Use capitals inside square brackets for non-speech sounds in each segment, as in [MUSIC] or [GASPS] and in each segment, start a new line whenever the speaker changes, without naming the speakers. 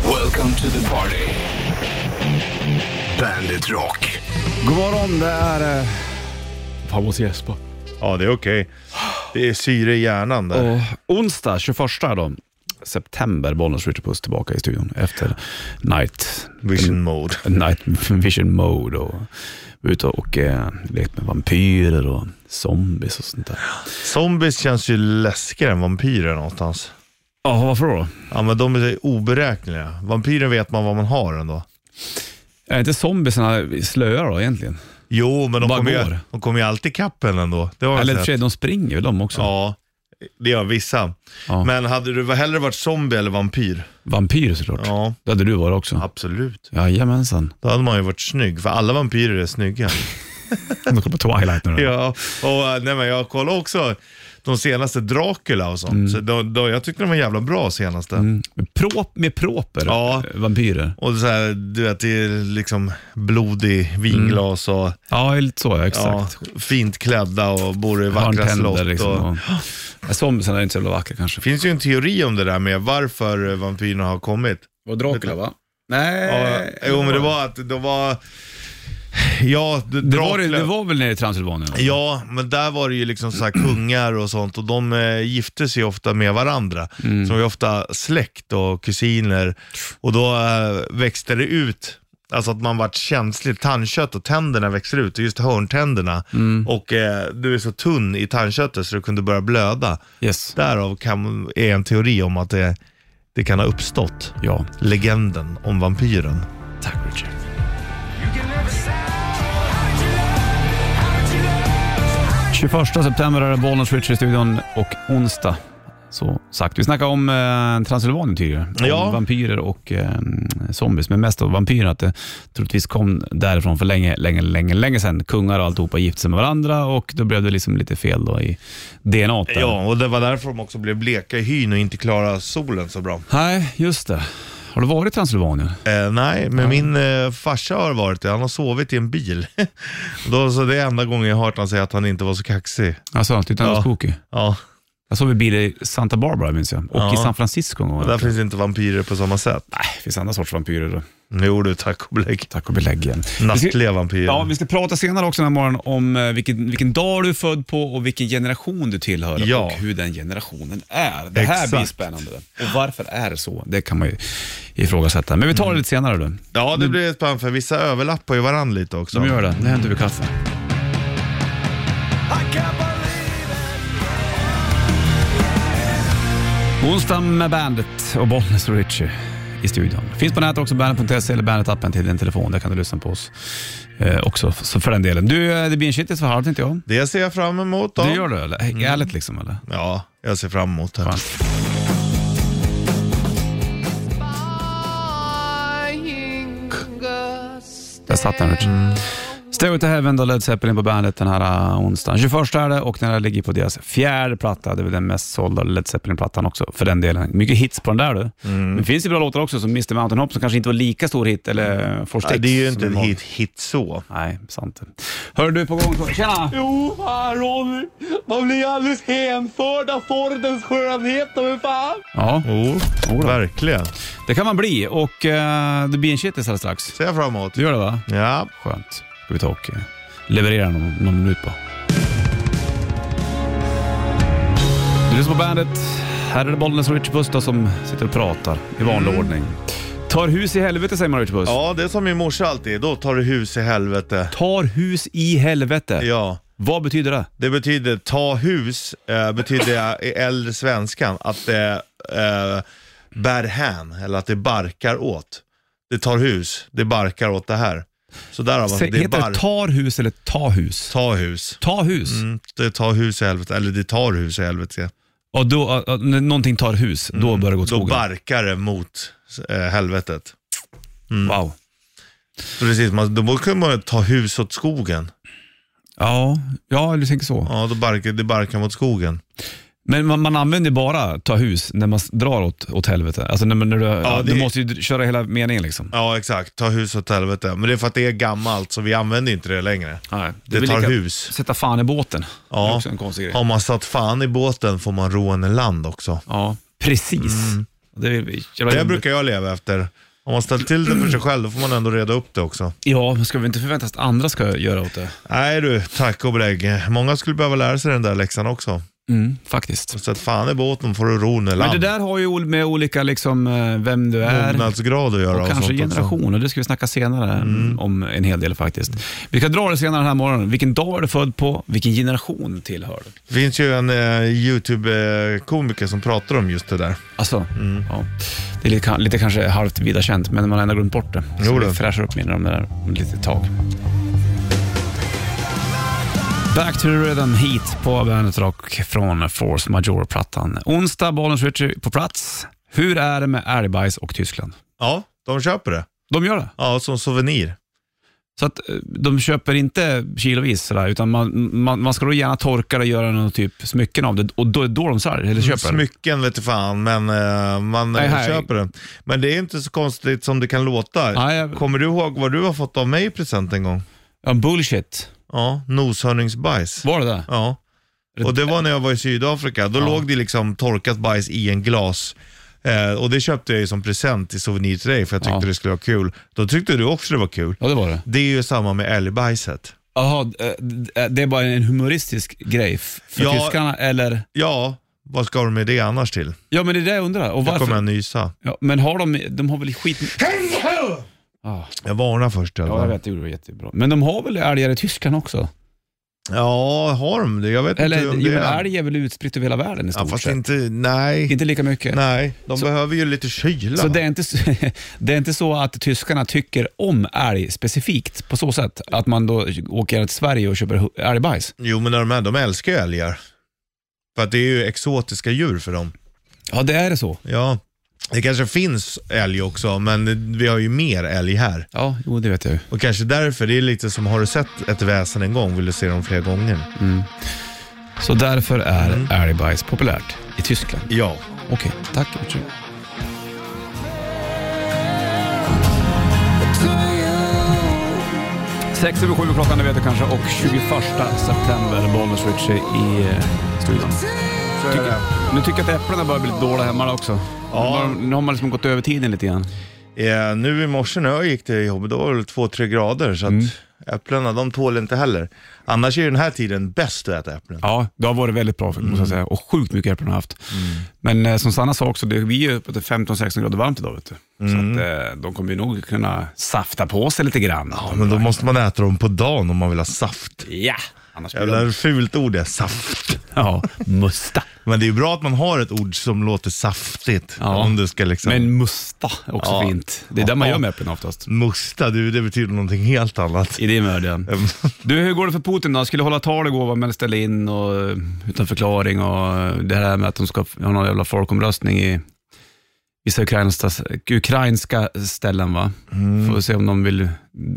Welcome to the party. Bandit Rock.
God morgon, det är... eh, Fan, måste gäspa.
Ja, det är okej. Det är syre i hjärnan där.
Och Eh, onsdag 21 då, september, Bollnäs Richard Puss tillbaka i studion efter Night,
Vision mode.
night Vision Mode och var ute och eh, lekt med vampyrer och zombies och sånt där.
Zombies känns ju läskigare än vampyrer någonstans.
Ja, varför då?
Ja, men de är oberäkneliga. Vampyren vet man vad man har ändå.
Är Eh, inte zombiesarna slöa då egentligen?
Jo, men de
Bara
kommer
går.
ju, de kommer ju alltid ikapp en ändå. Det har jag
Eller i och för
sett.
sig, de springer väl de också?
Ja, det gör vissa.
Ja.
Men hade du hellre varit zombie eller vampyr?
Vampyrer såklart.
Ja,
Det hade du varit också.
absolut.
Jajamensan.
Då hade man ju varit snygg, för alla vampyrer
[LAUGHS]
är snygga.
Nu kollar på Twilight nu då.
Ja, och äh, nej, men jag kollade också de senaste Dracula och sånt. Så då, då, jag tyckte de var jävla bra senaste.
Mm. Med Prop, med proper
Ja.
eh, vampyrer.
Och så här, du vet, det är liksom blod i vinglas och
Ja, lite så ja,
ja,
Mm. exakt.
fint klädda och bor i
Ja. Har
vackra slott.
tänder liksom.
och...
Och... Ja, Zombiesarna är inte så jävla vackra kanske.
Det finns ju en teori om det där med varför eh, vampyrerna har kommit.
Var Dracula va? Nej.
Ja, jo, men det var att det var... Ja, d-
Det var, det,
Dracula-
det var väl nere i Transylvanien? va?
Ja, men där var det ju liksom [CLEARS THROAT] så här kungar och sånt och de eh, gifte sig ofta med varandra. Så de var ju ofta släkt och kusiner och då eh, växte det ut, alltså att man vart känslig, tandkött och tänderna växer ut, just hörntänderna. Och eh, du är så tunn i tandköttet så du kunde börja blöda.
Yes.
Därav kan, är en teori om att det, det kan ha uppstått,
Ja.
legenden om vampyren.
Tack Richard. Tjugoförsta september är det Bollnäs Richard i studion och onsdag. Så sagt. Vi snackade om eh, Transylvanien tidigare. Om
Ja.
vampyrer och eh, zombies. Men mest av vampyrer att det troligtvis kom därifrån för länge, länge, länge, länge sedan. Kungar och alltihopa gifte sig med varandra och då blev det liksom lite fel då i DNA. där.
Ja, och det var därför de också blev bleka i hyn och inte klarade solen så bra.
Nej, just det. Har du varit i Transylvanien?
Eh, nej, men min eh, farsa har varit det. Han har sovit i en bil. [LAUGHS] Då, så det är enda gången jag har hört han säga att han inte var så kaxig.
Alltså, titta
Ja.
ja. spooky.
Ja,
Jag sov i bil i Santa Barbara minns jag. Och
Ja.
i San Francisco en gång.
där finns inte vampyrer på samma sätt.
Nej, det finns andra sorts vampyrer. då.
Jo du, tack och belägg.
Tack och belägg igen. Vi ska,
Nattliga vampyrer.
ja, vi ska prata senare också den här morgonen om eh, vilken, vilken dag du är född på och vilken generation du tillhör
Ja.
och hur den generationen är. Det här
Exakt.
blir spännande. Och varför är det så? Det kan man ju ifrågasätta. Men vi
Mm.
tar det lite senare. Då.
ja, det blir spännande för vissa överlappar ju varandra lite också.
De gör det. Nu hämtar vi kaffe. Onsdag med bandet och Bollnäs och Richie i studion. Finns på nätet också, bandet.se eller bandet-appen till din telefon. Där kan du lyssna på oss eh, också f- så för den delen. Du, eh, det blir en shitlist för halv tänkte jag.
Det ser jag fram emot då.
Det gör du eller? Ärligt liksom eller?
Ja, jag ser fram emot det.
Skönt. Där satt den Richie. Stairway to Heaven, då Led Zeppelin på bandet den här eh, onsdagen. 21 är det och den här ligger på deras fjärde platta. Det är väl den mest sålda Led Zeppelin-plattan också för den delen. Mycket hits på den där du.
Mm.
Det finns ju bra låtar också som Mr Mountain Hop som kanske inte var lika stor hit eller eh, Force
Mm.
X,
Nej, det är ju
som
inte en
var-
hit, hit så.
Nej, sant. Hör du är på gång? Tjena!
Jo, fan Ronny. Man blir alldeles hänförd av Fordens skönhet. och hur fan.
Ja,
Jo,
då.
Oh, verkligen.
det kan man bli och eh, det blir en shitlist alldeles strax.
Ser jag fram emot.
Du gör det va?
Ja,
Skönt. Ska vi ta och eh, leverera någon, någon minut på. Du lyssnar på bandet. Här är det Bollnäs och Richard Puss då som sitter och pratar i vanlig ordning. Tar hus i helvete säger man Richard Puss.
Mm. ja det är som min morsa alltid. Då tar du hus i helvete.
Tar hus i helvete.
Ja.
Vad betyder det?
Det betyder ta hus, eh, betyder i äldre svenskan att det eh, bär hän, eller att det barkar åt. Det tar hus, det barkar åt det här. Så där har man,
Se,
alltså, det är
heter
bark,
det tar hus eller ta hus?
ta hus.
Ta hus.
Mm, det tar hus i helvete, eller det tar hus i helvete.
Och då, ja, ja, när någonting tar hus, då börjar det gå åt
Mm. Då
skogen.
barkar det mot eh, helvetet.
Wow.
Så Precis, man, då kunde man ju ta hus åt skogen.
Ja, ja, du tänker så.
Ja, då barkar, det barkar mot skogen.
Men man, man använder ju bara ta hus när man s- drar åt, åt helvete. Alltså när, man- när du, ja,
det-
du måste ju d- köra hela meningen liksom.
Ja, exakt. Ta hus åt helvete. Men det är för att det är gammalt, så vi använder inte det längre.
Nej,
Det, tar hus.
Sätta fan i båten. Ja. Det är
Ja.
också en konstig grej.
Har man satt fan i båten får man rån i land också.
Ja, precis. Det, är, jävla
Mm. Det
jobbigt.
brukar jag leva efter. Om man ställt till det för sig själv, då får man ändå reda upp det också.
Ja, men ska vi inte förvänta oss att andra ska göra åt det?
Nej du, tack och belägg. Många skulle behöva lära sig den där läxan också.
Mm, faktiskt.
Så att fan i båten får du ro när
Men det
land.
där har ju ol- med olika, liksom, eh, vem du är.
Mognadsgrad att göra och,
Och kanske
sånt också. Mm.
generation, och det ska vi snacka senare om en hel del faktiskt. Vi ska dra det senare den här morgonen. Vilken dag är du född på? Vilken generation tillhör du?
Det finns ju en eh, YouTube-komiker som pratar om just det där.
Alltså, ja. Det är lite, lite kanske halvt vida känt, men man har ändå glömt bort det. Så
Jo då.
vi fräschar upp minnen om det där om ett litet tag. Back to the rhythm hit på Bandet Rock från Force Major-plattan. Onsdag, Bollens Ritchie på plats. Hur är det med älgbajs och Tyskland?
Ja, de köper det.
De gör det.
Ja, som souvenir.
Så att eh, de köper inte kilovis sådär, utan man, man, man ska då gärna torka det och göra någon typ smycken av det. Och då är det då de säljer, eller köper.
Mm, Smycken vet du fan, men eh, man eh,
Nej, här-
köper den. Men det är inte så konstigt som det kan låta.
Nej, jag-
Kommer du ihåg vad du har fått av mig i present en gång?
Ja, bullshit.
Ja, noshörningsbajs.
Var det det?
Ja. Och det var när jag var i Sydafrika. Då låg det liksom torkat bajs i en glas. Eh, och det köpte jag ju som present i souvenir till dig för jag tyckte
Ja.
det skulle vara kul. Då tyckte du också det var kul.
Ja, det var det.
Det är ju samma med älgbajset.
Jaha, eh, d- det är bara en humoristisk grej f- för
Ja.
tyskarna, eller?
Ja, vad ska de med det annars till?
Ja, men det är det jag undrar. Och
Då kommer jag
varför?
nysa.
Ja, men har de, de har väl skit... Ah,
Jag varnar först i alla
ja, jag
fall.
vet, det var jättebra. Men de har väl älgar i Tyskland också?
Ja, har de det? Jag vet
Eller,
inte om
jo,
det
men
är...
älg är väl utspritt över hela världen i
Ja,
stort
fast
sett?
inte, nej.
Inte lika mycket?
Nej, de
Så-
behöver ju lite kyla.
Så [LAUGHS] det är, inte, s- det är inte så att tyskarna tycker om älg specifikt på så sätt att man då åker till Sverige och köper hu- älgbajs?
Jo, men de, här, de älskar ju älgar. För att det är ju exotiska djur för dem.
Ja, det är det så.
Ja, det kanske finns älg också, men vi har ju mer älg här.
Ja, jo, det vet jag ju.
Och kanske därför, det är lite som har du sett ett väsen en gång, vill du se dem fler gånger?
Så därför är
Mm.
älgbajs populärt i Tyskland.
Ja.
Okej, tack. Richard. Sex över sju är klockan, det vet du kanske, och 21 september, Bollnäs Ritchie i eh, studion. Tycker, nu tycker jag att äpplena börjar bli lite dåliga hemma också.
Ja.
Nu har- Nu har man liksom gått över tiden lite grann.
Eh, nu i morse när jag gick till jobbet, då var det väl två, tre grader, så att
Mm.
äpplena, de tål inte heller. Annars är ju den här tiden bäst att äta äpplen.
Ja, det har varit väldigt bra måste jag säga. Och sjukt mycket äpplen har jag haft. Men eh, som Sanna sa också, det, vi är ju uppe till 15-16 grader varmt idag. Vet du. Så att, eh, de kommer ju nog kunna safta på sig lite grann. Ja,
Men då måste man äta dem på dagen om man vill ha saft.
annars blir de...
Jävla fult ord det, saft.
Ja, musta.
Men det är ju bra att man har ett ord som låter saftigt.
Ja.
Om du ska liksom...
Men musta är också
Ja.
fint. Det är där man
Ja.
gör med äpplen oftast.
Musta, du, det betyder någonting helt annat.
I din värld, ja. Du, hur går det för Putin då? Han skulle hålla tal igår va, men ställde in och, eh, utan förklaring och eh, det här med att de ska f- ha någon jävla folkomröstning i vissa ukrainska, ukrainska ställen. Va?
Mm.
Får vi se om de vill...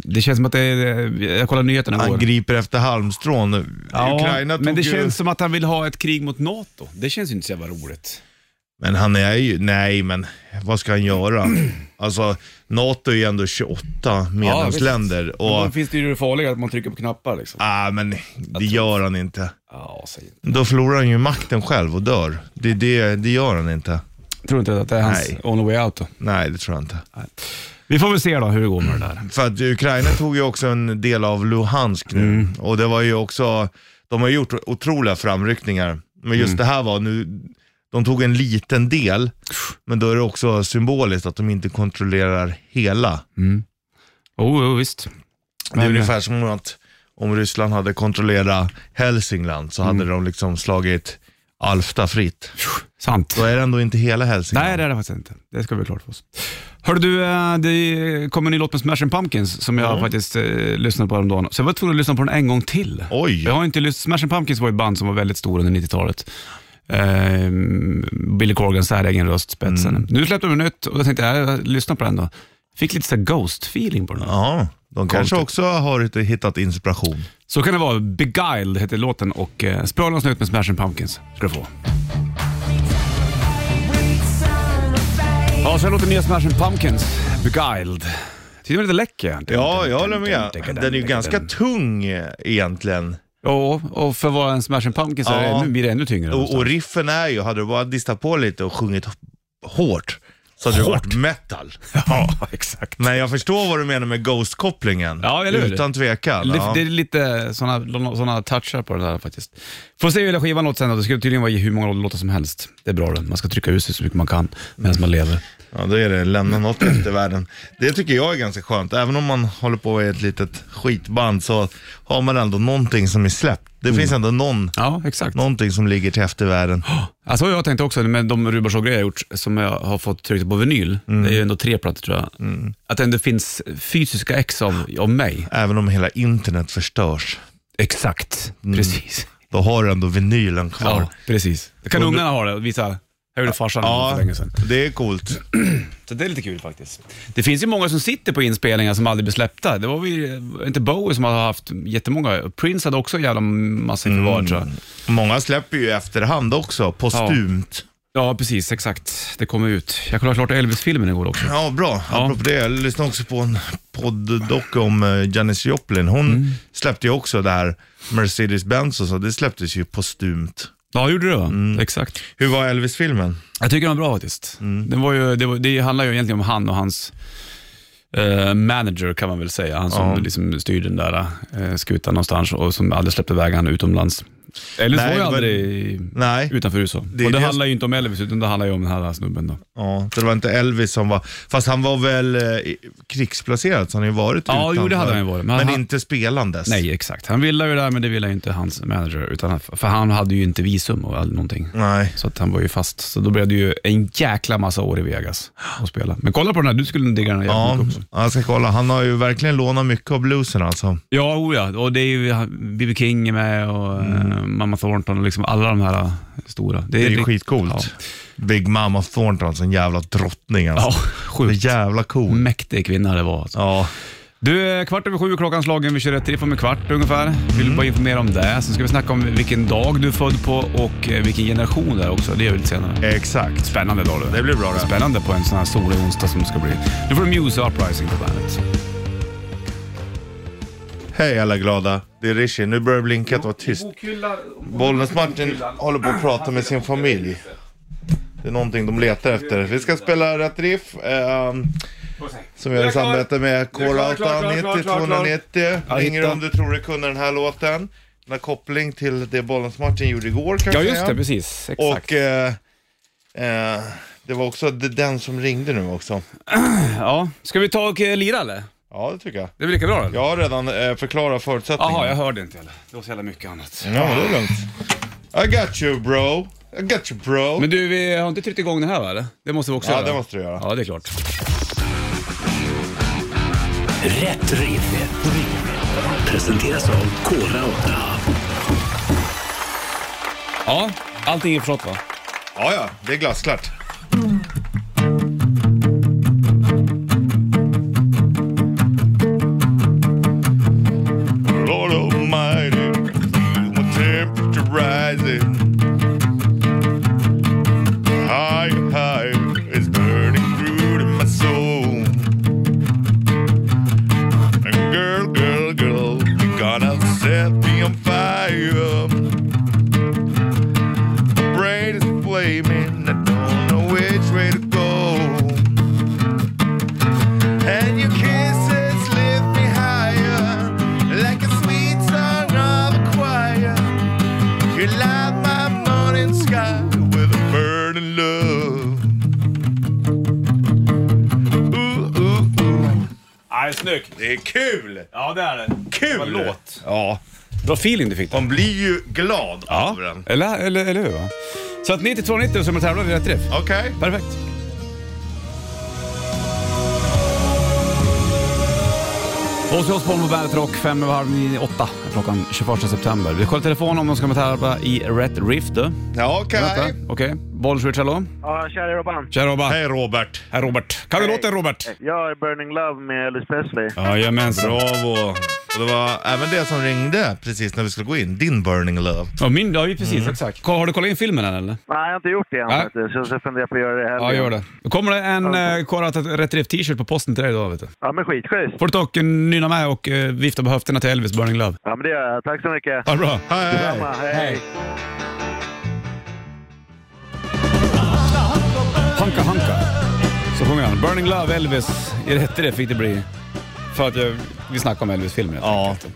Det känns som att det är... eh, Jag kollade nyheterna
[LAUGHS] Han
igår.
griper efter halmstrån. Ukraina
Ja,
tog
men det
ju...
känns som att han vill ha ett krig mot NATO. Det känns ju inte så jävla roligt.
Men han är ju... Nej, men vad ska
[CLEARS THROAT]
han göra? Alltså, NATO är ju ändå 28 medlemsländer.
Och... Då
och...
finns det ju det farliga att man trycker på knappar liksom.
Ah, men det gör han inte.
Ja, säg inte.
Då förlorar han ju makten själv och dör. Det, det, det gör han inte.
Tror inte att det är hans
Nej.
only way out då?
Nej, det tror jag inte.
Vi får väl se då hur det går med det där.
För att Ukraina tog ju också en del av Luhansk nu. Och det var ju också, de har gjort otroliga framryckningar. Men just det här var nu, de tog en liten del, men då är det också symboliskt att de inte kontrollerar hela.
Jo, oh, visst.
Det är
Men-
ungefär som att om Ryssland hade kontrollerat Hälsingland så hade de liksom slagit Alfta fritt.
Sant.
Då är det ändå inte hela Hälsingland.
Nej, det är det faktiskt inte. Det ska vi klart för oss. Hörde du, eh, det kommer en ny låt med Smashing Pumpkins som jag faktiskt eh, lyssnade på häromdagen. Så jag var tvungen att lyssna på den en gång till.
Oj.
Jag har inte lyssnat. Smashing Pumpkins var ett band som var väldigt stor under 90-talet. Ehm, Billy Corgans säregen röst, spetsen. Nu släppte de nytt och jag tänkte, äh, jag lyssnar på den då. Fick lite så här Ghost-feeling på den.
Ja, de kanske
Konstigt.
också har inte hittat inspiration.
Så kan det vara. Beguiled heter låten och eh, sprallans nytt med Smashing Pumpkins ska du få. Ja, så här låter nya Smashing Pumpkins, Beguiled. Tyckte den var lite läcker.
Ja, jag håller med. Den är ju ganska tung eh, egentligen.
Ja, och för att vara en Smashing Pumpkins så är det
Ja.
ännu, blir det ännu tyngre.
Och, och
någonstans.
riffen är ju, hade du bara distat på lite och sjungit h- hårt så hade det
Hårt.
varit metal.
[LAUGHS] Ja, exakt.
Men jag förstår vad du menar med ghost-kopplingen.
Ja, eller hur?
Utan tvekan.
Det,
ja.
det är lite sådana såna touchar på det där faktiskt. Får se hur hela skivan låter sen då. Det ska tydligen vara i hur många låtar som helst. Det är bra det. Man ska trycka ut sig så mycket man kan medan man
Mm.
lever.
Ja, då är det lämna något efter världen. Det tycker jag är ganska skönt. Även om man håller på i ett litet skitband så har man ändå någonting som är släppt. Det
Mm.
finns ändå någon,
Ja, exakt.
någonting som ligger
[GASPS]
till eftervärlden.
Alltså jag tänkte också med de Rubarshow-grejer jag gjort, som jag har fått tryckt på vinyl, det är ju ändå tre plattor tror jag, att det ändå finns fysiska ex av, av mig.
Även om hela internet förstörs,
Exakt, Mm. precis.
då har du ändå vinylen kvar.
Ja, precis. Det kan
Och du-
ungarna ha det och visa, här gjorde farsan för länge sedan.
det är coolt.
Så det är lite kul faktiskt. Det finns ju många som sitter på inspelningar som aldrig blir släppta. Det var vi, inte Bowie som hade haft jättemånga. Prince hade också en jävla massa i förvar tror jag.
Många släpper ju i efterhand också, postumt.
Ja, precis. Exakt. Det kommer ut. Jag kollade klart Elvis-filmen igår också.
Ja, bra. Apropå det, jag lyssnade också på en podd-dock om eh, Janis Joplin. Hon
Mm.
släppte ju också det här Mercedes-Benz och så, det släpptes ju postumt.
Ja, gjorde det va? Exakt.
Hur var Elvis-filmen?
Jag tycker den var bra faktiskt.
Mm.
Den var ju, det, var, det handlar ju egentligen om han och hans eh, manager kan man väl säga. Han som
Ja.
liksom styr den där eh, skutan någonstans och som aldrig släppte iväg han utomlands. Elvis
Nej,
var ju
det var-
aldrig
Nej,
utanför USA.
är
och det
det-
handlar ju inte om Elvis utan det handlar ju om den här snubben då.
ja, så det var inte Elvis som var, fast han var väl eh, i- krigsplacerad så han har ju varit
Ja, jo, det hade han ju varit, men
Men,
han-
inte spelandes.
Nej, exakt. Han ville ju det här, men det ville ju inte hans manager. Utan han, för han hade ju inte visum och all- någonting.
Nej.
Så att han var ju fast. Så då blev det ju en jäkla massa år i Vegas att spela. Men kolla på den här, du skulle digga den här jävligt
Ja,
mycket också.
jag ska kolla. Han har ju verkligen lånat mycket av bluesen alltså.
Ja, oh ja. Och det är ju han- B.B. King är med och eh, Mamma Thornton och liksom alla de här eh, stora.
Mm. Det är ju
rikt-
skitcoolt. Big Mama Thornton, en jävla drottning
Ja, ja
alltså. Det
sjukt.
är jävla cool.
Mäktig kvinna det var alltså.
Mm. Ja.
Du, eh, kvart över sju är klockan slagen. Vi kör rätt riff om en kvart ungefär. Vill
Mm.
bara informera om det. Sen ska vi snacka om vilken dag du är född på och eh, vilken generation det är också. Det gör vi lite senare.
Exakt.
Spännande dag du.
Eh. Det blir bra det.
Spännande på en sån här solig onsdag som det ska bli. Nu får du Muse och Uprising på bandet.
Hej alla glada. Det är Rishi. Nu börjar det blinka att vara tyst. Bollnäs-Martin håller på att prata med sin familj. Det är någonting de letar efter. Vi ska spela rätt riff. ehm, som vi gör i samarbete med Kålauta 90 290. Ringer
hitta.
om du tror du kunde den här låten. Den har koppling till det Bollnäs-Martin gjorde igår kan
Ja,
jag
just
säga.
det. Precis. Exakt.
Och eh, eh, det var också d- den som ringde nu också.
ja. Ska vi ta och eh, lira eller?
Ja, det tycker jag.
Det blir lika bra eller?
Jag har redan eh, förklarat förutsättningarna.
Jaha, jag hörde inte heller. Det var så jävla mycket annat.
Ja, men det är lugnt. I got you bro. I got you bro.
Men du, vi har inte tryckt igång den här va? eller? Det måste vi också
Ja,
göra.
det måste du göra.
Ja, det är klart.
Rätt riff. Presenteras av Kora 8.
Ja, allting är förstått va?
Ja, ja, det är glasklart. Lord Almighty, feel my temperature rising. Higher, higher, it's burning through to my soul. And girl, girl, girl, you're gonna set me on fire brain is flaming. I don't know which way to go. And your kisses lift me higher, like a sweet song of a choir. You light my morning sky with a burning love. Ooh, ooh, ooh.
Nej, snyggt.
Det är kul!
Ja, det är det.
Kul!
låt.
Ja,
Bra feeling du fick där.
man blir ju glad av den.
Eller, eller, eller hur? Va? Så att 9290 som är tävlande i rätt träff.
Okej.
Perfekt. Ozzy Osbourne på Bandet Rock, fem över halv nio, åtta klockan 21 september. Vi kollar telefon om de ska med tävla i Rätt Riff du.
Ja, Okej.
Vänta, Okej, Bollswitch, hallå?
Ja, kära Robban.
Tja Robban.
Hej Robert.
Här Robert. Kan du låten Robert?
Jag är Burning Love med Elvis Presley.
Jajamensan.
Bravo! Och det var även det som ringde precis när vi skulle gå in, din Burning Love.
Ja, min, ja precis, Mm. exakt. Ko- Har du kollat in filmen än eller?
Nej, jag har inte gjort det än
Nej.
faktiskt. Så jag funderar på att göra det här.
Ja, gör det. Då kommer det en eh, Korat Rätt Riff t-shirt på posten till dig idag vet du.
Ja, men skitschysst.
Får du ta och eh, nynna med och eh, vifta på höfterna till Elvis Burning Love.
Ja, men det gör jag. Tack så mycket.
Ha det bra.
Hej!
Detsamma. Hej.
Hanka Hanka. Så sjunger han Burning Love Elvis. Är rätt i det fick det bli. För att jag, vi snackade om Elvis-filmer helt
Ja.
enkelt.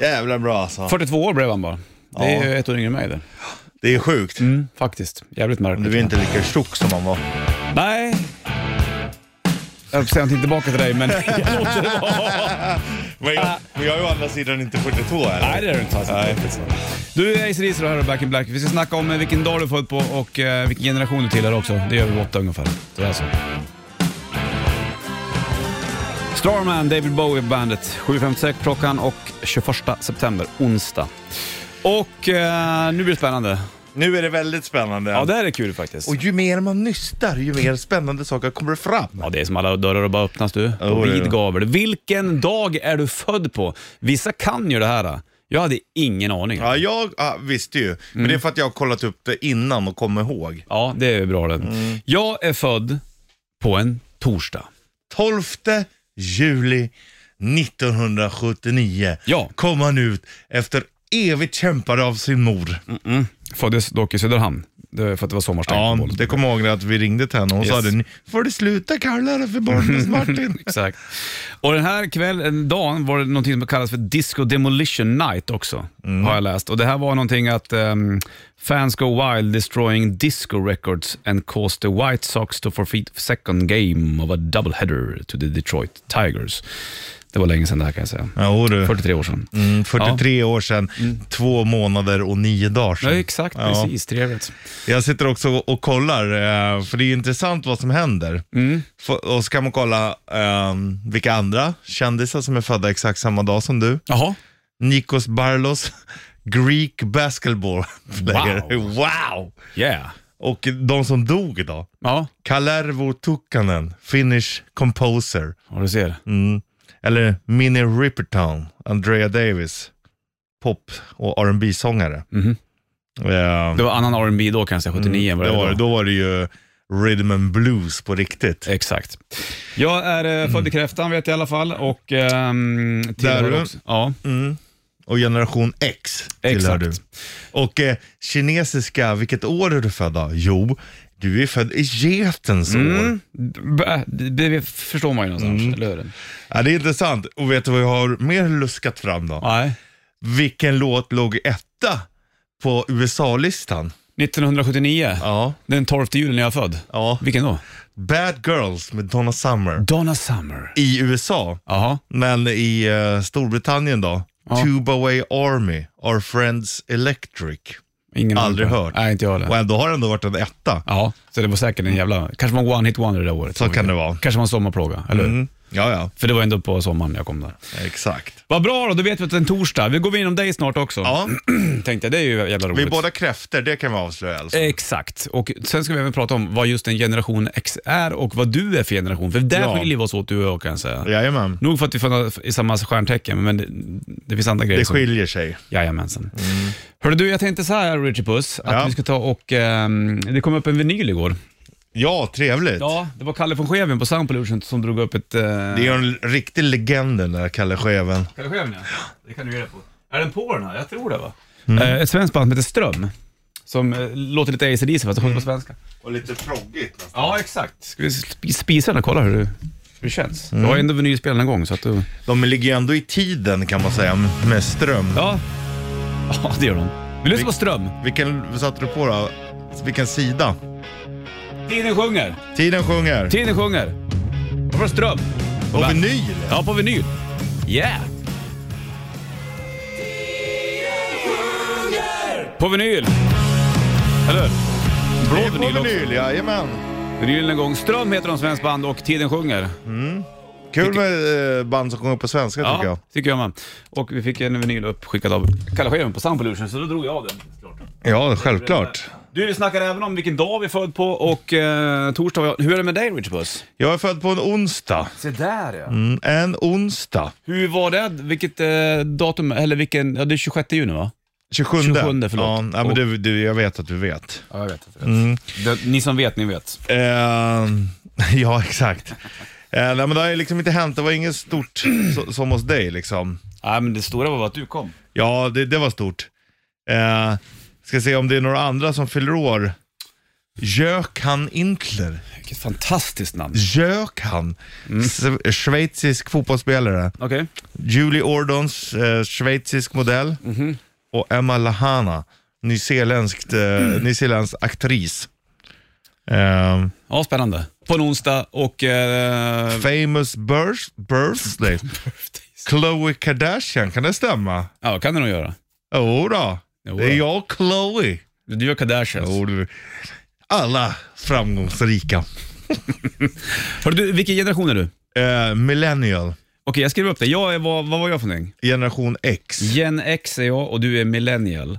Jävla bra alltså.
42 år blev han bara. Det är
Ja.
ju ett år yngre än mig det. Mm.
Det är sjukt.
Faktiskt. Jävligt märkligt.
Du är inte lika tjock som man var.
Nej. Jag höll på att säga någonting tillbaka till dig, men...
Men jag, men jag är å andra sidan inte 42 heller.
Nej, det är du inte. Nej. Du, Ace Reeser och här Back in Black. Vi ska snacka om eh, vilken dag du född på och eh, vilken generation du tillhör också. Det gör vi åtta ungefär. Det är alltså- så. Starman, David Bowie på bandet. 7.56 klockan och 21 september, onsdag. Och eh, nu blir det spännande.
Nu är det väldigt spännande.
Ja, det här är kul faktiskt.
Och ju mer man nystar, ju mer spännande saker kommer fram.
Ja, det är som alla dörrar och bara öppnas du.
Ja,
På
det är
vid
det.
gavel. Vilken dag är du född på? Vissa kan ju det här. Jag hade ingen aning.
Ja, jag ja, visste ju. Men det är för att jag har kollat upp det innan och kommer ihåg.
Ja, det är bra det.
Mm.
Jag är född på en torsdag.
12 juli 1979
Ja.
kom han ut efter evigt kämpande av sin mor.
Mm, Föddes dock i Söderhamn, det, för att det var sommarstängt
Ja,
på bollen.
det kommer jag ihåg att vi ringde till henne och hon
Yes.
sa det. Får du sluta kalla det för Barnens
[LAUGHS]
Martin?
Exakt. Och den här kvällen, dagen var det någonting som kallas för Disco Demolition Night också,
Mm.
har jag läst. Och det här var någonting att ehm, fans go wild destroying disco records and caused the White Sox to forfeit second game of a double header to the Detroit Tigers. Det var länge sedan det här kan jag säga.
Ja, och du.
43 år sedan.
Mm, 43 år sedan, två månader och nio dagar sedan.
Mm. Ja, exakt.
Ja.
Precis. Trevligt.
Jag sitter också och kollar, eh, för det är intressant vad som händer.
Mm.
F- Och så kan man kolla eh, vilka andra kändisar som är födda exakt samma dag som du.
Jaha.
Nikos Barlos, [LAUGHS] Greek basketball player. Wow.
Yeah.
Och de som dog idag.
Ja,
Kalervo Tukkanen, Finnish composer.
ja du ser.
Mm. Eller Minnie Riperton, Andrea Davis, pop och rb sångare
Mhm.
Eh,
Det var annan R&B då kanske, 79 var det,
Mm. Det var,
då.
då var det ju rhythm and blues på riktigt.
Exakt. Jag är eh, född i Kräftan vet jag i alla fall och ehm, tillhör
Där du.
också- Ja,
Och generation X tillhör
Exakt.
du. Och eh, kinesiska, vilket år är du född då? Jo, du är född i getens
Mm.
år.
B- äh, det, det förstår man ju någonstans,
Mm.
eller hur?
Ja, det är intressant. Och vet du vad jag har mer luskat fram då?
Nej.
Vilken låt låg etta på USA-listan?
1979,
Ja,
den 12 juli när jag är född.
ja.
Vilken då?
Bad Girls med Donna Summer.
Donna Summer.
I USA,
Jaha.
men i eh, Storbritannien då? Tuba Way Army, Our Friends Electric.
Ingen aning.
Aldrig hört.
Nej, inte jag
Och
heller.
ändå har den då varit en etta.
Ja, så det var säkert en jävla... Kanske var en one-hit wonder det där året.
Så kan det vara.
Kanske var en sommarplåga, eller hur?
Mm. Ja, ja,
För det var ändå på sommaren jag kom där.
exakt.
Vad bra då, då vet vi att det är en torsdag. Vi går igenom dig snart också.
Ja,
[CLEARS THROAT] Tänkte jag, det är ju jävla roligt.
vi är båda kräfter, det kan vi avslöja alltså.
Exakt. Och sen ska vi även prata om vad just en generation X är och vad du är för generation. För där
Ja.
skiljer vi oss åt du och jag kan jag säga.
Jajamän,
Nog för att vi får i samma stjärntecken, men det, det finns andra grejer.
det skiljer sig.
Som, jajamensan. Hörru du, jag tänkte så här Richie Puss, att
Ja.
vi ska ta och... ehm, det kom upp en vinyl igår.
Ja, trevligt.
Ja, det var Kalle von Scheven på Sound Pollution som drog upp ett... eh,
Det är ju en riktig legend den där Kalle Scheven.
Kalle Scheven ja. Det kan du göra på. Är den på den här? Jag tror det va?
Mm.
Eh, ett svenskt band som heter Ström, som eh, låter lite AC/DC fast de
Mm.
sjunger på svenska.
Och lite proggigt nästan.
Ja, exakt. Mm. Ska vi sp- spisa den och kolla hur, det- hur det känns? Jag har ändå vinylspelaren igång så att du...
De ligger ju ändå i tiden kan man säga, med ström.
Ja, ja det gör de. Vi lyssnar på Ström.
Vilken satte du på då? Vilken sida?
Tiden sjunger.
Tiden sjunger.
Tiden sjunger. Och från Ström.
Och
Band.
vinyl!
Ja, på vinyl. Yeah! På vinyl. Eller hur?
Det är
Blå
på
vinyl också.
vinyl, jajamän.
Vinylen igång. Ström heter de svensk band och Tiden sjunger.
Kul med eh, band som sjunger på svenska tycker jag.
tycker jag med. Och vi fick en vinyl uppskickad av Kalle Scheven på Sound Pollution, så då drog jag av den. Klart.
Ja, självklart.
Du, vi snackar även om vilken dag vi är född på och eh, torsdag. var jag- Hur är det med dig Richard Puss?
Jag är född på en onsdag.
Se där ja.
Mm, en onsdag.
Hur var det? Vilket eh, datum, eller vilken, ja det är 26 juni va?
27.
27, förlåt.
Ja, nej, men
Och-
du, du, jag vet att du vet.
Ja, jag vet. Jag vet. ni som vet, ni vet.
Ehm, [LAUGHS] ja, exakt. Eh, nej, men det har ju liksom inte hänt. Det var inget stort so, som hos dig liksom.
Nej, men det stora var att du kom.
Ja, det, det var stort. Eh, ska se om det är några andra som fyller år Jökan Intler.
Vilket fantastiskt namn.
Jökan.
Mm.
S- Schweizisk fotbollsspelare.
Okej.
Julie Ordons, eh, schweizisk modell.
Mhm.
Och Emma Lahana, nyzeeländskt, eh,
Mm.
nyzeeländsk aktris. Ehm,
Ja, spännande. På en onsdag och... Eh,
famous birth,
[LAUGHS]
birthday. Khloe Kardashian, kan det stämma?
ja, kan det nog göra.
Jo då.
Jo
det är
då.
jag och Khloe.
Du gör Kardashians.
Jo, du. Alla framgångsrika.
Hörru du, vilken generation är du? Okej,
Eh, millennial,
jag skriver upp det. Jag är, vad, vad var jag för någonting?
generation X. Mm.
Gen X är jag och du är millennial.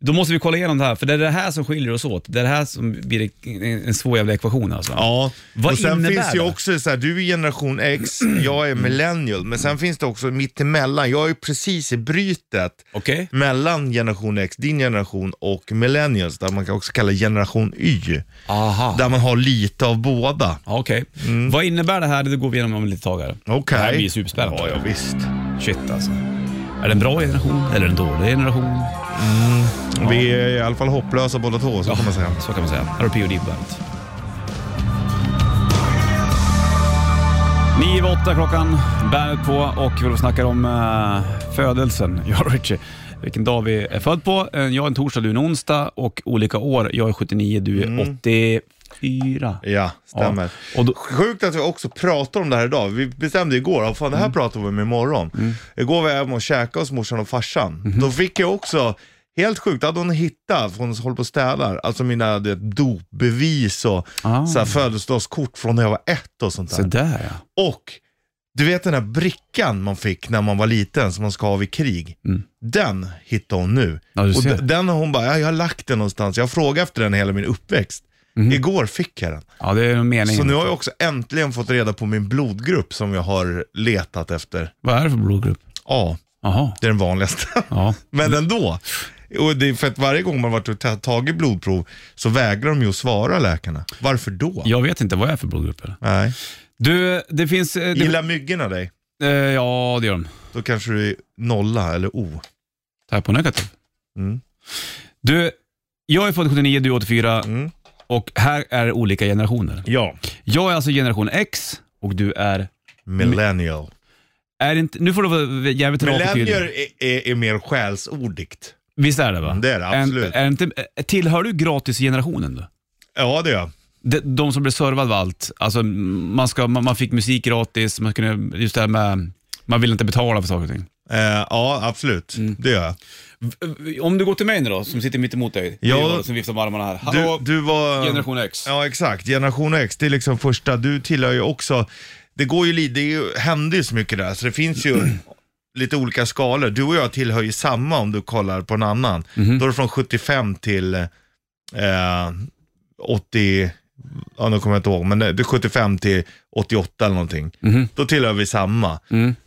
Då måste vi kolla igenom det här, för det är det här som skiljer oss åt. Det är det här som blir en- en svår jävla ekvation alltså.
Ja,
Vad
och sen
innebär
finns ju
det? Mm.
också så här, du är generation X, jag är millennial, men sen finns det också mittemellan. Jag är precis i brytet
Okej?
mellan generation X, din generation och millennials, där man kan också kalla generation Y,
Aha.
där man har lite av båda.
Ja, Okej. Vad innebär det här? Det går vi igenom om lite tag här.
Okej.
Det här blir superspännande.
Ja, ja, visst.
Shit alltså. Är det en bra generation eller en dålig generation?
Vi är i alla fall hopplösa båda två, så kan man säga.
Så kan man säga. Här har P.O.D. på bandet. 9 över åtta klockan, bandet på och vi snackar om eh, födelsen. [LAUGHS] Ja, Richie. Vilken dag vi är född på. Eh, Jag är en torsdag, du är en onsdag och olika år. Jag är 79, du
Mm.
är 84.
Ja, stämmer.
Ja. Och då-
Sjukt att vi också pratar om det här idag. Vi bestämde igår, "Ja, fan, det här
Mm.
pratar vi om imorgon. Igår var jag hemma och käkade hos morsan och farsan.
Mm-hmm.
Då fick jag också, helt sjukt, hade hon hittat, för hon håller på och städar, alltså mina du vet, dopbevis och
Ah.
så här, födelsedagskort från när jag var ett och sånt där.
Så där ja.
Och du vet den här brickan man fick när man var liten som man ska ha vid krig. Den hittar hon nu.
Mm. Ja, du
och
ser.
d- den har hon bara, "Ja, jag har lagt den någonstans. Jag har frågat efter den hela min uppväxt.
Mm-hmm.
Igår fick jag den.
Ja, det är nog meningen.
Så nu har jag också äntligen fått reda på min blodgrupp som jag har letat efter.
Vad är det för blodgrupp?
Ja,
Jaha.
det är den vanligaste.
Ja.
[LAUGHS] Men ändå. Och det är för att varje gång man varit och ta- tagit blodprov så vägrar de ju att svara läkarna. Varför då?
Jag vet inte vad jag är för blodgrupp. Eller?
Nej.
Du, det finns... eh, Det,
Gillar myggorna dig?
eh, ja, det gör de.
Då kanske du är nolla eller O.
Tar jag på negativ?
Mm.
Du, jag är född 79, du är 84
Mm.
och här är det olika generationer.
Ja.
Jag är alltså generation X och du är...
Millennial.
är inte, nu får du vara jävligt rak och
Millennial
tydlig.
är, är, är mer själsordigt.
Visst är det va?
Mm, Det är det, absolut.
Är, är inte, tillhör du gratisgenerationen då?
Ja, det är jag.
De, de som blev servad av allt. Alltså, man, ska, man, man fick musik gratis, man kunde, just det här med... Man vill inte betala för saker och ting.
Eh, ja, absolut. Det gör jag.
Om du går till mig nu då, som sitter mitt emot dig.
Ja. Det är jag
Som viftar med armarna här.
Du,
Hallå,
du var...
generation X.
Ja, exakt. Generation X, det är liksom första. Du tillhör ju också, det går ju lite, det är ju- händer ju så mycket där, så det finns ju [CLEARS THROAT] lite olika skalor. Du och jag tillhör ju samma om du kollar på en annan.
Mhm.
Då är det från 75 till eh, 80, ja nu kommer jag inte ihåg, men det det är 75 till 88 eller någonting.
Mhm.
Då tillhör vi samma,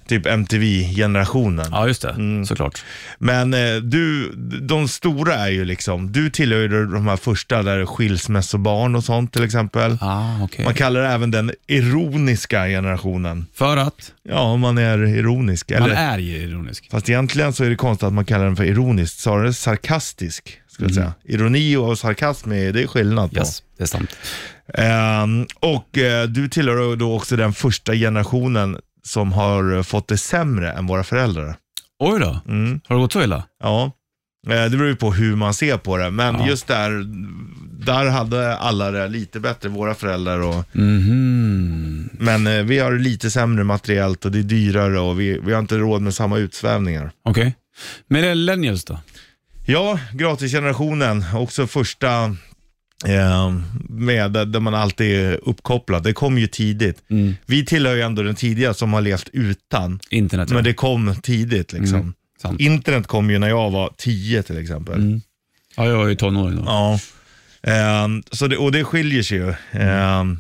typ MTV-generationen.
Mm. Ja, just det.
Mm.
Såklart.
Men eh, du, de stora är ju liksom, du tillhör ju de här första där skilsmässobarn och sånt till exempel.
Ah, okej.
Man kallar det även den ironiska generationen.
För att?
Ja, om man är ironisk. Eller,
Man är ju ironisk.
Fast egentligen så är det konstigt att man kallar den för ironisk, snarare sarkastisk. Skulle jag säga. Ironi och sarkasm, är, det är skillnad på.
Mm. Yes, det är sant.
Ehm, och eh, du tillhör då också den första generationen som har eh, fått det sämre än våra föräldrar.
Oj då,
Mm.
har det gått så illa?
Ja, eh, det beror ju på hur man ser på det. Men
Ja.
just där, där hade alla det lite bättre, våra föräldrar. Och,
Mhm.
men eh, vi har det lite sämre materiellt och det är dyrare och vi, vi har inte råd med samma utsvävningar.
Okej. Men millennials då?
Ja, gratisgenerationen, också första eh, med, där där man alltid är uppkopplad. Det kom ju tidigt.
Mm.
Vi tillhör ju ändå den tidiga som har levt utan,
Internet?
men det kom tidigt liksom.
Mm. sant.
Internet kom ju när jag var 10 till exempel.
Mm. Ja, jag är ju tonåring då.
Ja, Ehm, så det, och det skiljer sig ju. Ehm,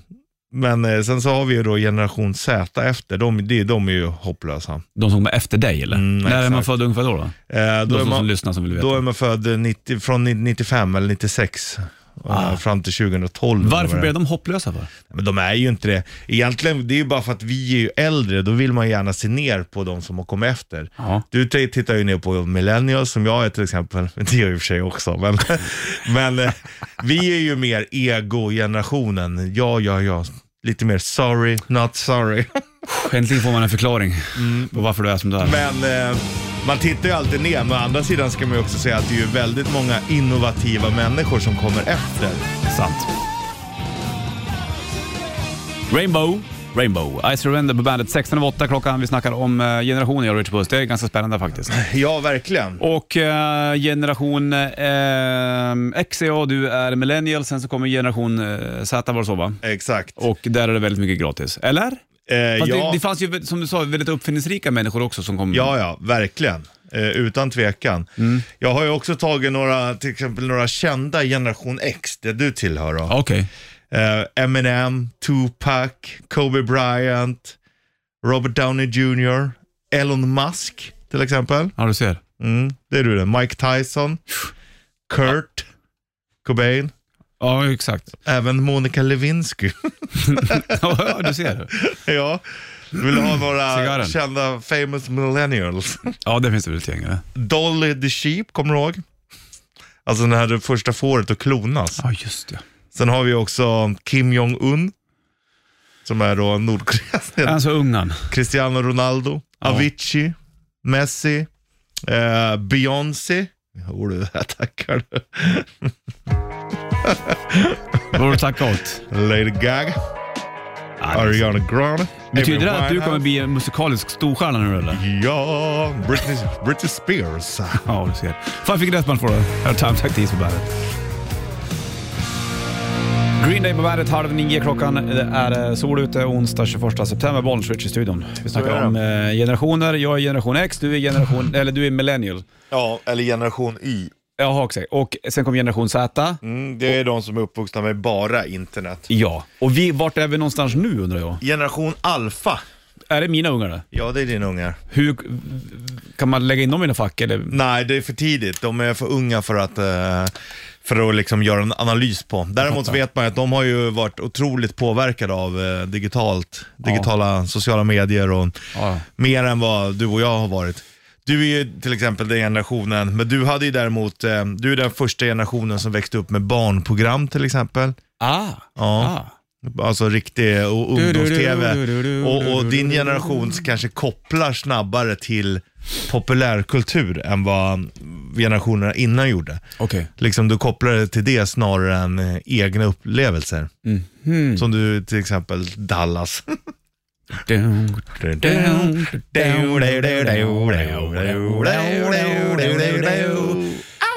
men eh, sen så har vi ju då generation Z efter, de, de, de är ju hopplösa.
De som är efter dig eller?
Mm,
När är
exakt.
man född ungefär då? då?
Eh, då,
De
är
som, som
man,
lyssnar som vill veta.
då är man född 90, från 95 eller 96 eh, fram till 2012.
Ah. Varför
Eller vad det
blev
är.
de hopplösa för?
Men de är ju inte det. Egentligen, det är ju bara för att vi är ju äldre, då vill man gärna se ner på de som har kommit efter.
Ja.
Du t- tittar ju ner på millennials som jag är till exempel, [LAUGHS] det gör jag i och för sig också, men, [LAUGHS] men eh, vi är ju mer ego-generationen. Ja, ja, ja. Lite mer sorry, not sorry. [LAUGHS]
Äntligen får man en förklaring
Mm.
på varför du är som du är.
Men eh, man tittar ju alltid ner, men å andra sidan ska man ju också säga att det är ju väldigt många innovativa människor som kommer efter.
Sant. Rainbow. Rainbow. I surrender på bandet 16 över 8 klockan. Vi snackar om eh, generationer, jag och Richard Puss. Det är ganska spännande faktiskt.
Ja, verkligen.
Och eh, generation eh, X är jag, du är millennial, sen så kommer generation eh, Z var det så va?
Exakt.
Och där är det väldigt mycket gratis. Eller?
Eh,
Fast
ja.
det, det fanns ju, som du sa, väldigt uppfinningsrika människor också som kom.
Ja, ja, verkligen. Eh, utan tvekan.
Mm.
Jag har ju också tagit några, till exempel några kända generation X, det du tillhör då.
Ah, Okej.
Eh, Eminem, Tupac, Kobe Bryant, Robert Downey Jr, Elon Musk till exempel.
Ja, du ser.
Mm, det är du det. Mike Tyson, Kurt Cobain,
Ja, exakt.
även Monica Lewinsky. [LAUGHS]
ja, [LAUGHS] du ser.
ja. Vill du ha några
Cigarren.
kända famous millennials?
Ja, det finns det väl ett gäng. eller?
Dolly the Sheep, kommer du ihåg? Alltså när det första fåret att klonas.
Ja, just det.
Sen har vi också Kim Jong-Un, som är då Nordkoreas
Alltså Ungern.
Cristiano Ronaldo, Avicii, Messi, eh, Beyoncé. Jo du, här tackar du.
Vad var det du tackade åt?
Lady Gaga, Ariana Grande.
Betyder
Amy
det att du
Winehouse.
kommer bli en musikalisk storstjärna nu eller?
Ja, Britney, Britney Spears.
Ja, du ser. Fan, fick rätt man får det. Här har Time Tack Dis på bandet. Green Day på bandet, halv nio klockan. Det är eh, sol ute onsdag 21 september. Bollswitch i studion. Vi snackar om eh, generationer. Jag är generation X, du är generation, eller du är millennial.
Ja, eller generation Y.
Jaha, exakt. Och sen kom generation Z.
Mm, det är de som är uppvuxna med bara internet.
Ja. Och vi, vart är vi någonstans nu undrar jag?
Generation Alfa.
Är det mina ungar det?
Ja, det är dina ungar.
Hur, kan man lägga in dem i några fack eller?
Nej, det är för tidigt. De är för unga för att, eh, för att liksom göra en analys på. Däremot vet man ju att de har ju varit otroligt påverkade av eh, digitalt, digitala sociala medier och
Ja.
mer än vad du och jag har varit. Du är ju till exempel den generationen, men du hade ju däremot, eh, du är den första generationen som växte upp med barnprogram till exempel.
Ah.
Ja.
ah.
Alltså riktig och
Du, du, du,
ungdoms-tv.
du, du, du,
Och, och
du, du,
din
du,
generation kanske kopplar snabbare till populärkultur än vad generationerna innan gjorde.
Okej.
Liksom du kopplar det till det snarare än eh, egna upplevelser.
Mhm.
Som du till exempel
[LAUGHS]
Dallas.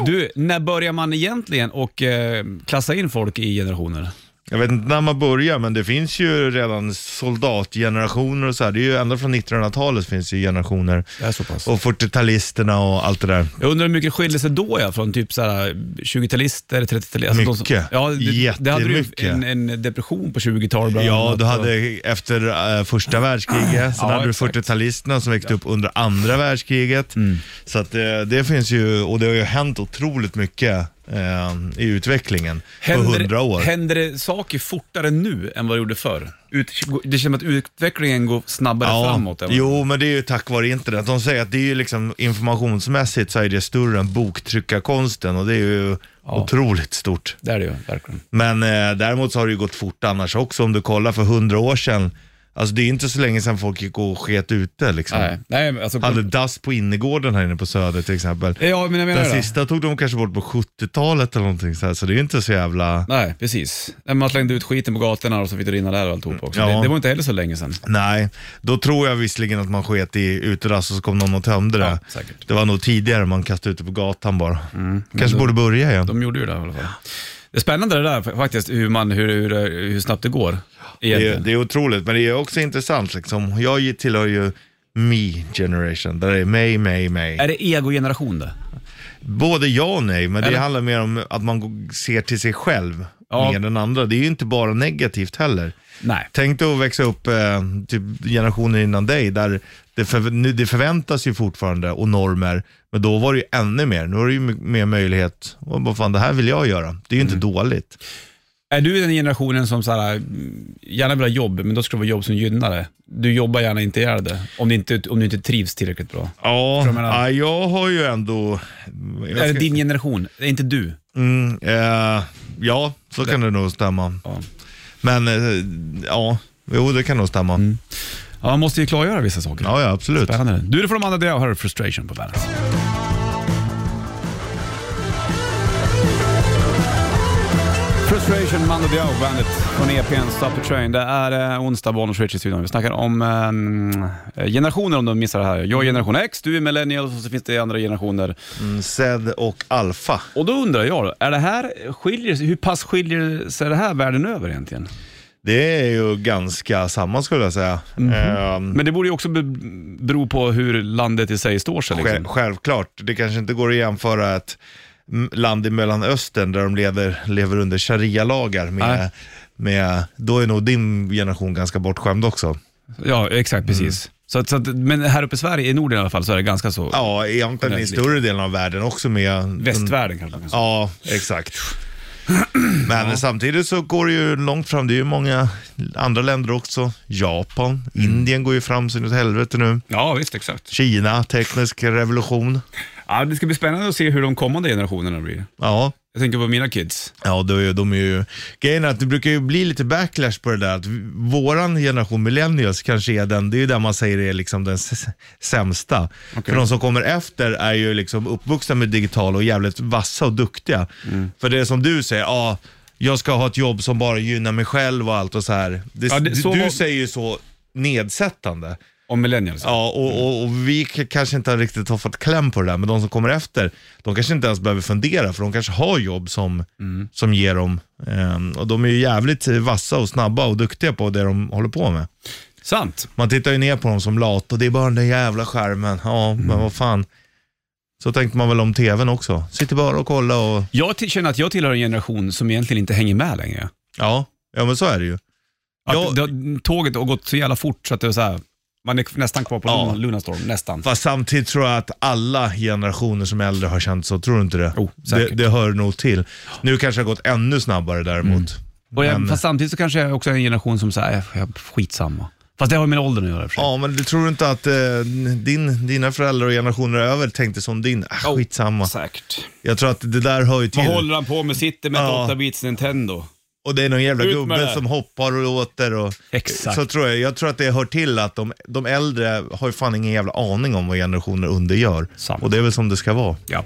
Du, när börjar man egentligen och eh, klassa in folk i generationer?
Jag vet inte när man börjar men det finns ju redan soldatgenerationer och så här. Det är ju ända från 1900-talet finns ju generationer.
är så pass.
Och 40-talisterna och allt det där.
Jag undrar hur mycket skiljer sig då ja, från typ så här 20-talister, 30-talister? alltså de som-
Mycket.
Ja, det, det hade du ju
Jättemycket.
en, en depression på 20-talet bland
Ja,
annat. alltså.
du hade efter eh, första världskriget, sen
Ja,
hade du
exakt. Mm.
40-talisterna som växte upp under andra världskriget. Så att, eh, det finns ju, och det har ju hänt otroligt mycket eh, i utvecklingen på hundra år.
Händer det saker fortare nu än vad det gjorde förr? Ut, det känns som att utvecklingen går snabbare framåt. än vad-
jo, men det är ju tack vare internet. De säger att det är ju liksom informationsmässigt så är det större än boktryckarkonsten och det är ju otroligt stort.
Det är det ju, verkligen.
Men eh, däremot så har det ju gått fort annars också om du kollar för hundra år sedan. Alltså det är inte så länge sedan folk gick och sket ute liksom.
Nej, nej men alltså...
hade dass på innergården här inne på Söder till exempel.
Ja, men jag menar
Den
det.
sista tog de kanske bort på 70-talet eller någonting så här, så det är ju inte så jävla...
Nej, precis. Nej, Man slängde ut skiten på gatorna och så fick det rinna där och alltihop också.
Ja.
Det, det var inte heller så länge sedan.
Nej, då tror jag visserligen att man sket i utedass och så kom någon och tömde det.
Ja, säkert. Mm,
Det var nog tidigare man kastade ut det på gatan bara. Kanske borde börja igen.
De gjorde ju det i alla fall. Det är spännande det där faktiskt, hur, man, hur, hur, hur snabbt det går.
det, är,
Egentligen.
det är otroligt, men det är också intressant liksom. Jag tillhör ju me generation, där det är mig, mig, mig.
Är det egogeneration det?
Både ja och nej, men det
Eller?
handlar mer om att man går- ser till sig själv
Ja.
än den andra. Det är ju inte bara negativt heller.
Nej.
Tänk dig att växa upp eh, typ generationen innan dig, där det, för, nu, det förväntas ju fortfarande och normer, men då var det ju ännu mer. Nu har du ju my- mer möjlighet, och vad fan det här vill jag göra. Det är ju inte dåligt.
Är du den generationen som så här, mm, gärna vill ha jobb, men då ska det vara jobb som gynnar det? Du jobbar gärna inte ihjäl det, om du inte, om du inte trivs tillräckligt bra.
Ja,
Förstår du vad jag menar?
ja, jag har ju ändå... jag
Är det
ska-
din generation? Det är inte du?
Mm, eh, ja, så kan det nog stämma.
Ja.
Men eh, ja, jo det kan nog stämma.
Mm. Ja, man måste ju klargöra vissa saker.
Ja, ja, absolut.
Spännande. Du är från Amanda Diao och här är Frustration på bandet. Frustration, Mando Diao, bandet från EPn Stop the Train. Det är eh, onsdag, Bonus Rich i studion. Vi snackar om eh, mm, eh, generationer om du missar det här. Jag är generation X, du är millennial och så finns det andra generationer.
Mm, Zed och Alfa.
Och då undrar jag, då, är det här, skiljer, hur pass skiljer sig det här världen över egentligen?
Det är ju ganska samma skulle jag säga.
Mhm.
Eh,
Men det borde ju också be- bero på hur landet i sig står sig.
Själv,
Liksom.
självklart, det kanske inte går att jämföra ett m- land i Mellanöstern där de lever, lever under sharia-lagar med,
Nej.
med, då är nog din generation ganska bortskämd också.
Ja,
Mm.
exakt, precis. Så, att- så att, men här uppe i Sverige, i Norden i alla fall, så är det ganska så.
Ja, egentligen i större delen av världen också med...
Västvärlden kanske man kan säga.
Ja, exakt. Men samtidigt så går det ju långt fram. Det är ju många andra länder också. Japan,
Mm.
Indien går ju fram så inåt helvete nu.
Ja, visst, exakt.
Kina, teknisk revolution.
Ja, det ska bli spännande att se hur de kommande generationerna blir.
Ja,
Jag tänker på mina kids.
Ja, då är de är ju... Grejen är att det brukar ju bli lite backlash på det där att vi- våran generation millennials kanske är den, det är ju den man säger är liksom den s- sämsta. För de som kommer efter är ju liksom uppvuxna med digital och jävligt vassa och duktiga.
Mm.
För det är som du säger, ja, jag ska ha ett jobb som bara gynnar mig själv och allt och så här. Det,
Ja, det- så
du,
var-
du säger ju så nedsättande.
Om millennials.
Ja, och, och, och vi k- kanske inte riktigt har fått kläm på det där, men de som kommer efter, de kanske inte ens behöver fundera, för de kanske har jobb som, som ger dem, ehm, och de är ju jävligt vassa och snabba och duktiga på det de håller på med.
Sant.
Man tittar ju ner på dem som lat och det är bara den där jävla skärmen, ja, men vad fan. Så tänkte man väl om tvn också, sitter bara och kollar och,
Jag till- känner att jag tillhör en generation som egentligen inte hänger med längre.
ja, ja men så är det ju.
Att
Jag-
det har- tåget har gått så jävla fort så att det är så här, man är nästan kvar på
Ja.
Luna, Luna Storm. Nästan.
Fast samtidigt tror jag att alla generationer som är äldre har känt så, tror du inte det?
Jo,
det,
säkert.
det hör nog till. Nu kanske det har gått ännu snabbare däremot.
Mm, Och jag,
Men-
fast samtidigt så kanske jag också är en generation som säger, jag skitsamma. Fast det har ju med åldern att göra i och för sig.
Ja, men du tror inte att eh, din, dina föräldrar och generationer över tänkte som din? Ah,
Jo,
skitsamma.
Säkert.
Jag tror att det där hör ju
Vad
till.
håller han på med? Sitter med ett
Ja.
8-bits Nintendo?
Och det är någon jävla
Ut med det
gubbe
här.
som hoppar och låter. Och,
Exakt.
Så tror jag. Jag tror att det hör till att de, de äldre har ju fan ingen jävla aning om vad generationer under gör.
Sant.
Och det är väl som det ska vara.
Ja.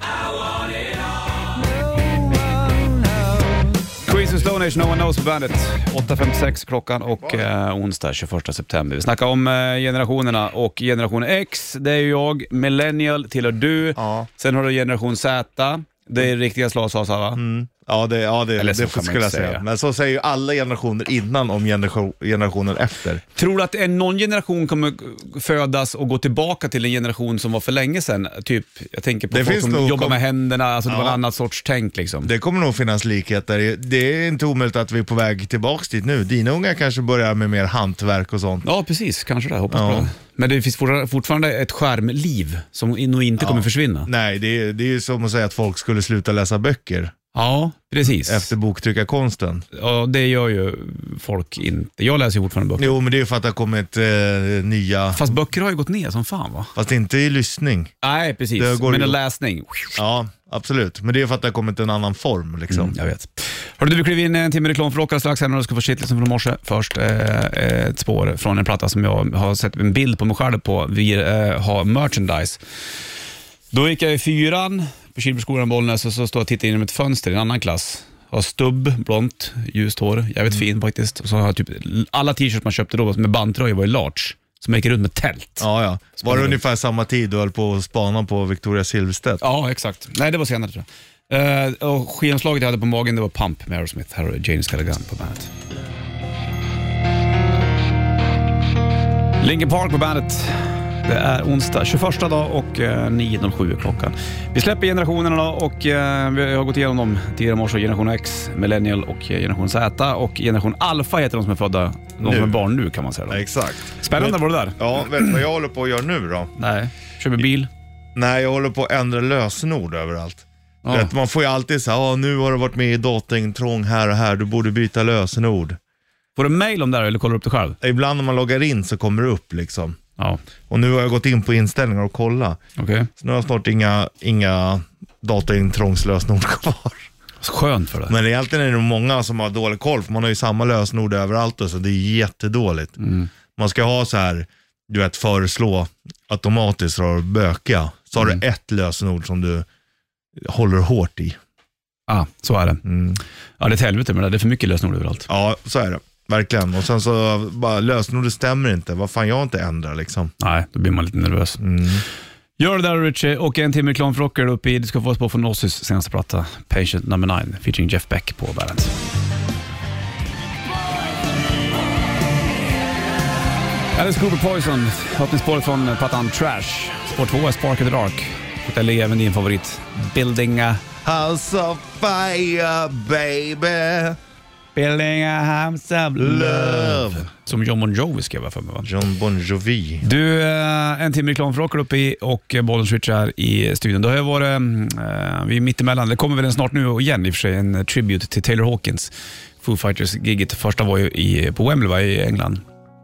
Queens of Stone Age, No One Knows på bandet. 8.56 klockan och eh, onsdag 21 september. Vi snackar om eh, generationerna och generation X, det är ju jag. Millennial tillhör du.
Ja. Mm.
Sen har du generation Z, det är riktiga slasasar va?
Ja, det, ja, det,
Eller så
det
kan man
skulle jag
inte
säga.
säga.
Men så säger ju alla generationer innan om generation, generationen efter.
Tror du att en, någon generation kommer födas och gå tillbaka till en generation som var för länge sedan? Typ, jag tänker på
Det
folk
finns
som
nog-
jobbar med händerna, alltså det var
Ja.
en annan sorts tänk liksom.
Det kommer nog finnas likheter. Det är inte omöjligt att vi är på väg tillbaks dit nu. Dina unga kanske börjar med mer hantverk och sånt.
Ja, precis. Kanske det. Hoppas
Ja.
på det. Men det finns fortfarande- fortfarande ett skärmliv som in- nog inte kommer försvinna.
Nej, det är, det är ju som att säga att folk skulle sluta läsa böcker
Ja, precis.
efter boktryckarkonsten.
Ja, det gör ju folk inte. Jag läser ju fortfarande böcker.
Jo, men det är ju för att det har kommit eh, nya,
Fast böcker har ju gått ner som fan va?
fast inte i lyssning.
Nej, precis.
Det går
Men
ju-
en läsning.
Ja, absolut. Men det är för att det har kommit en annan form liksom.
Mm, Jag vet. Hörru du, vi kliver in en timme reklam för Rockar strax här när du ska få shitlisten från morse. Först eh, ett spår från en platta som jag har sett en bild på mig själv på. Vi eh, har merchandise. Då gick jag i fyran på Kilbergsskolan i Bollnäs och så står jag och tittar in genom ett fönster i en annan klass. Jag har stubb, blont, ljust hår, jävligt fin faktiskt. Och så har jag typ, alla t-shirts man köpte då med bandtröjor var ju large. Så man gick runt med tält.
Ja, ja. Var det ungefär samma tid du höll på att spana på Victoria Silvstedt?
Ja, exakt. Nej, det var senare tror jag. Eh, och skivomslaget jag hade på magen det var Pump med Aerosmith. Här har du James Callaghan på bandet. Linkin Park på bandet. Det är onsdag 21 dag och eh, 9.07 är klockan. Vi släpper generationerna då och eh, vi har gått igenom dem tidigare i morse. Generation X, Millennial och eh, Generation Z. Och Generation Alpha heter de som är födda, de som
Nu.
är barn nu kan man säga. Då.
Exakt.
Spännande var det där.
Ja, vet du vad jag håller på att göra nu då?
Nej. Köper bil.
Nej, jag håller på att ändra lösenord överallt.
Ja.
Vet, man får ju alltid säga, ah, nu har du varit med i datingtrång här och här, du borde byta lösenord.
Får du mail om det här eller kollar du upp det själv?
Ibland när man loggar in så kommer det upp liksom.
Ja,
Och nu har jag gått in på inställningar och kollat.
okej.
Så nu har jag snart inga, inga dataintrångslösenord [LAUGHS] kvar.
Skönt för dig.
Men egentligen är det många som har dålig koll, för man har ju samma lösenord överallt och så. Det är jättedåligt. Man ska ha så här, du vet, föreslå automatiskt för att böka. Så har du ett lösenord som du håller hårt i. Mm.
Ah, så är det. Ja, det är ett helvete med det där. Det är för mycket lösenord överallt.
Ja, så är det. Verkligen. Och sen så, bara, lösenordet stämmer inte. Vad fan, jag har inte ändrat liksom. Mm.
Nej, då blir man lite nervös. Gör det där Richie och en timme reklam för rocker upp i. Du ska få oss på från Ozzy's senaste platta, Patient Number 9, featuring Jeff Beck på bandet. Alice Cooper Poison, öppningsspåret från plattan Trash. Spår 2 är Spark in the Dark. Och där ligger även din favorit, Building a,
House of fire baby,
Building a House of
love.
Som John Bon Jovi skrev jag för mig va?
John Bon Jovi.
Du, eh, en timme reklam för rocker uppe i och eh, Bollens Rich här i studion. Det har ju varit, mm, eh, vi är mittemellan, det kommer väl en snart nu igen i och för sig, en eh, tribute till Taylor Hawkins. Foo Fighters-giget, första var ju i, på Wembley va, i England.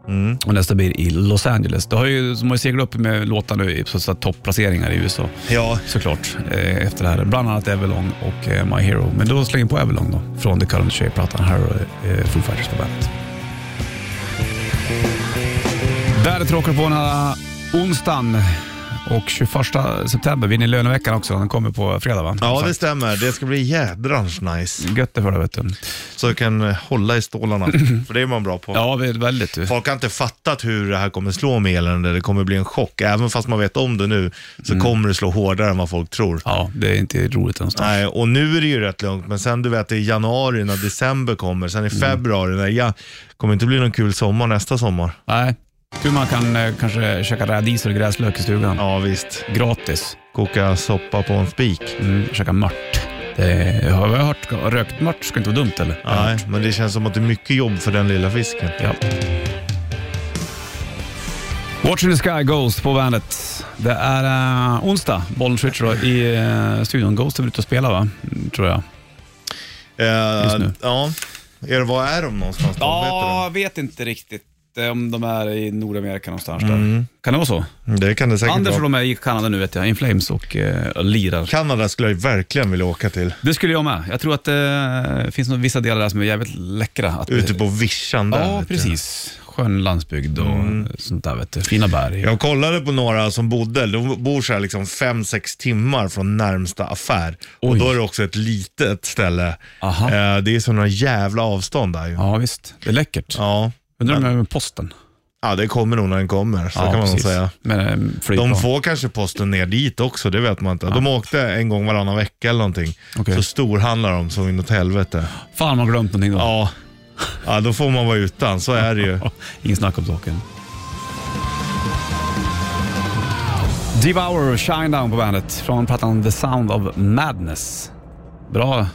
Mm.
Och nästa blir i Los Angeles. Det har ju, de har ju seglat upp med låtar nu i så att säga, topplaceringar i USA.
Ja,
Såklart, eh, efter det här. Bland annat Avalon och eh, My Hero. Men då slänger jag på Avalon då, från The Current Shape-plattan. Här är eh, Foo Fighters på bandet. Där tråkar på den här onsdagen och 21 september. Vi är inne i löneveckan också. Den kommer på fredag va?
ja det stämmer. Det ska bli jädrans nice.
Gött det för dig vet du.
Så jag kan eh, hålla
[LAUGHS]
i stålarna, för det är man bra på.
Ja, vi- väldigt. du.
Folk har inte fattat hur det här kommer slå med elände. Det kommer bli en chock. Även fast man vet om det nu så kommer det slå hårdare än vad folk tror.
Mm. Ja, det är inte roligt någonstans.
Nej, och nu är det ju rätt lugnt, men sen du vet i januari när december kommer, sen i
Mm.
februari, när jag kommer inte bli någon kul sommar nästa sommar.
Nej. Tur man kan eh, kanske käka radisor och gräslök i stugan.
Ja visst,
Gratis.
koka soppa på en spik.
Mm, käka mört. Det har jag hört. Rökt mört ska inte vara dumt eller?
Nej, men det känns som att det är mycket jobb för den lilla fisken.
Ja. Watching the Sky Ghost på bandet. Det är eh, onsdag, bollen switcher då, i eh, studion. Ghost är väl ute och spelar va? Mm, Tror jag.
Eh,
Just nu.
ja, är det, var är de någonstans? då?
Ja, jag vet inte riktigt eh, om de är i Nordamerika någonstans
Mm.
där. Kan det vara så?
Vet du? Det kan det säkert
Anders och
vara.
de är i Kanada nu vet jag, In Flames och eh, lirar.
Kanada skulle jag verkligen vilja åka till.
Det skulle jag med. Jag tror att eh, det finns nog vissa delar där som är jävligt läckra. Att, eh,
Ute på vischan där.
Ja,
vet du.
precis. Skön landsbygd och
Mm.
sånt där vet du. Fina berg.
Jag kollade på några som bodde, de bor så här liksom 5-6 timmar från närmsta affär.
Oj.
Och då är det också ett litet ställe.
Aha.
Eh, det är sådana jävla avstånd där ju. Ja.
Ja, visst. Det är läckert.
Ja.
Undrar om det är med posten?
det kommer nog när den kommer, så kan man nog säga.
Men eh, flygplan.
De får kanske posten ner dit också, det vet man inte. De åkte en gång varannan vecka eller någonting.
Okej.
Så storhandlar de så inåt helvete.
Fan, man har glömt någonting då.
Ja. ja, då får man vara utan, så
[LAUGHS]
är det ju.
Ingen snack om saken. Devour, Shine Down på bandet från plattan The Sound of Madness. Bra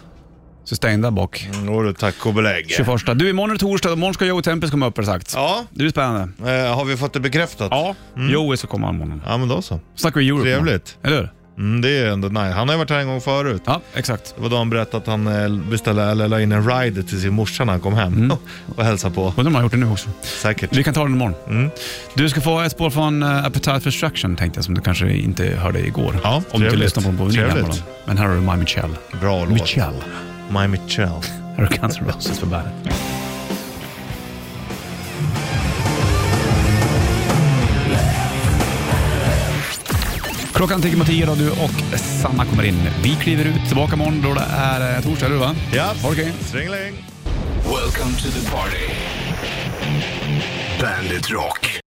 sustain där bak.
Jo du, tack och belägg.
21. Du, imorgon är det torsdag. Imorgon ska Joey Tempest komma upp, har det sagt.
Ja,
Det är spännande.
eh, har vi fått det bekräftat?
Ja, Joey ska komma imorgon.
Ja, men då så.
Snackar vi Europe.
Trevligt.
imorgon. Eller hur?
Mm, det är ändå nice. Han har ju varit här en gång förut.
Ja, exakt.
Det var då han berättade att han eh, beställde eller la in en rider till sin morsa när han kom hem [LAUGHS] och hälsade på.
Undrar om han har gjort det nu också.
Säkert.
Vi kan ta den imorgon.
Mm.
Du ska få ett spår från eh, Appetite for Destruction tänkte jag, som du kanske inte hörde igår.
Ja,
Om du inte
trevligt.
lyssnade på den på vinyl
Trevligt.
hemma. Men här har du My Michelle.
Bra låt.
Michelle.
My Michelle.
Här har du Guns N' Roses på bandet. Klockan tickar mot tio då, du och Sanna kommer in. Vi kliver ut, tillbaka imorgon då det är eh, torsdag, eller hur, va?
Ja.
Ha det grymt.
Stringeling.
Welcome to the party. Bandit Rock.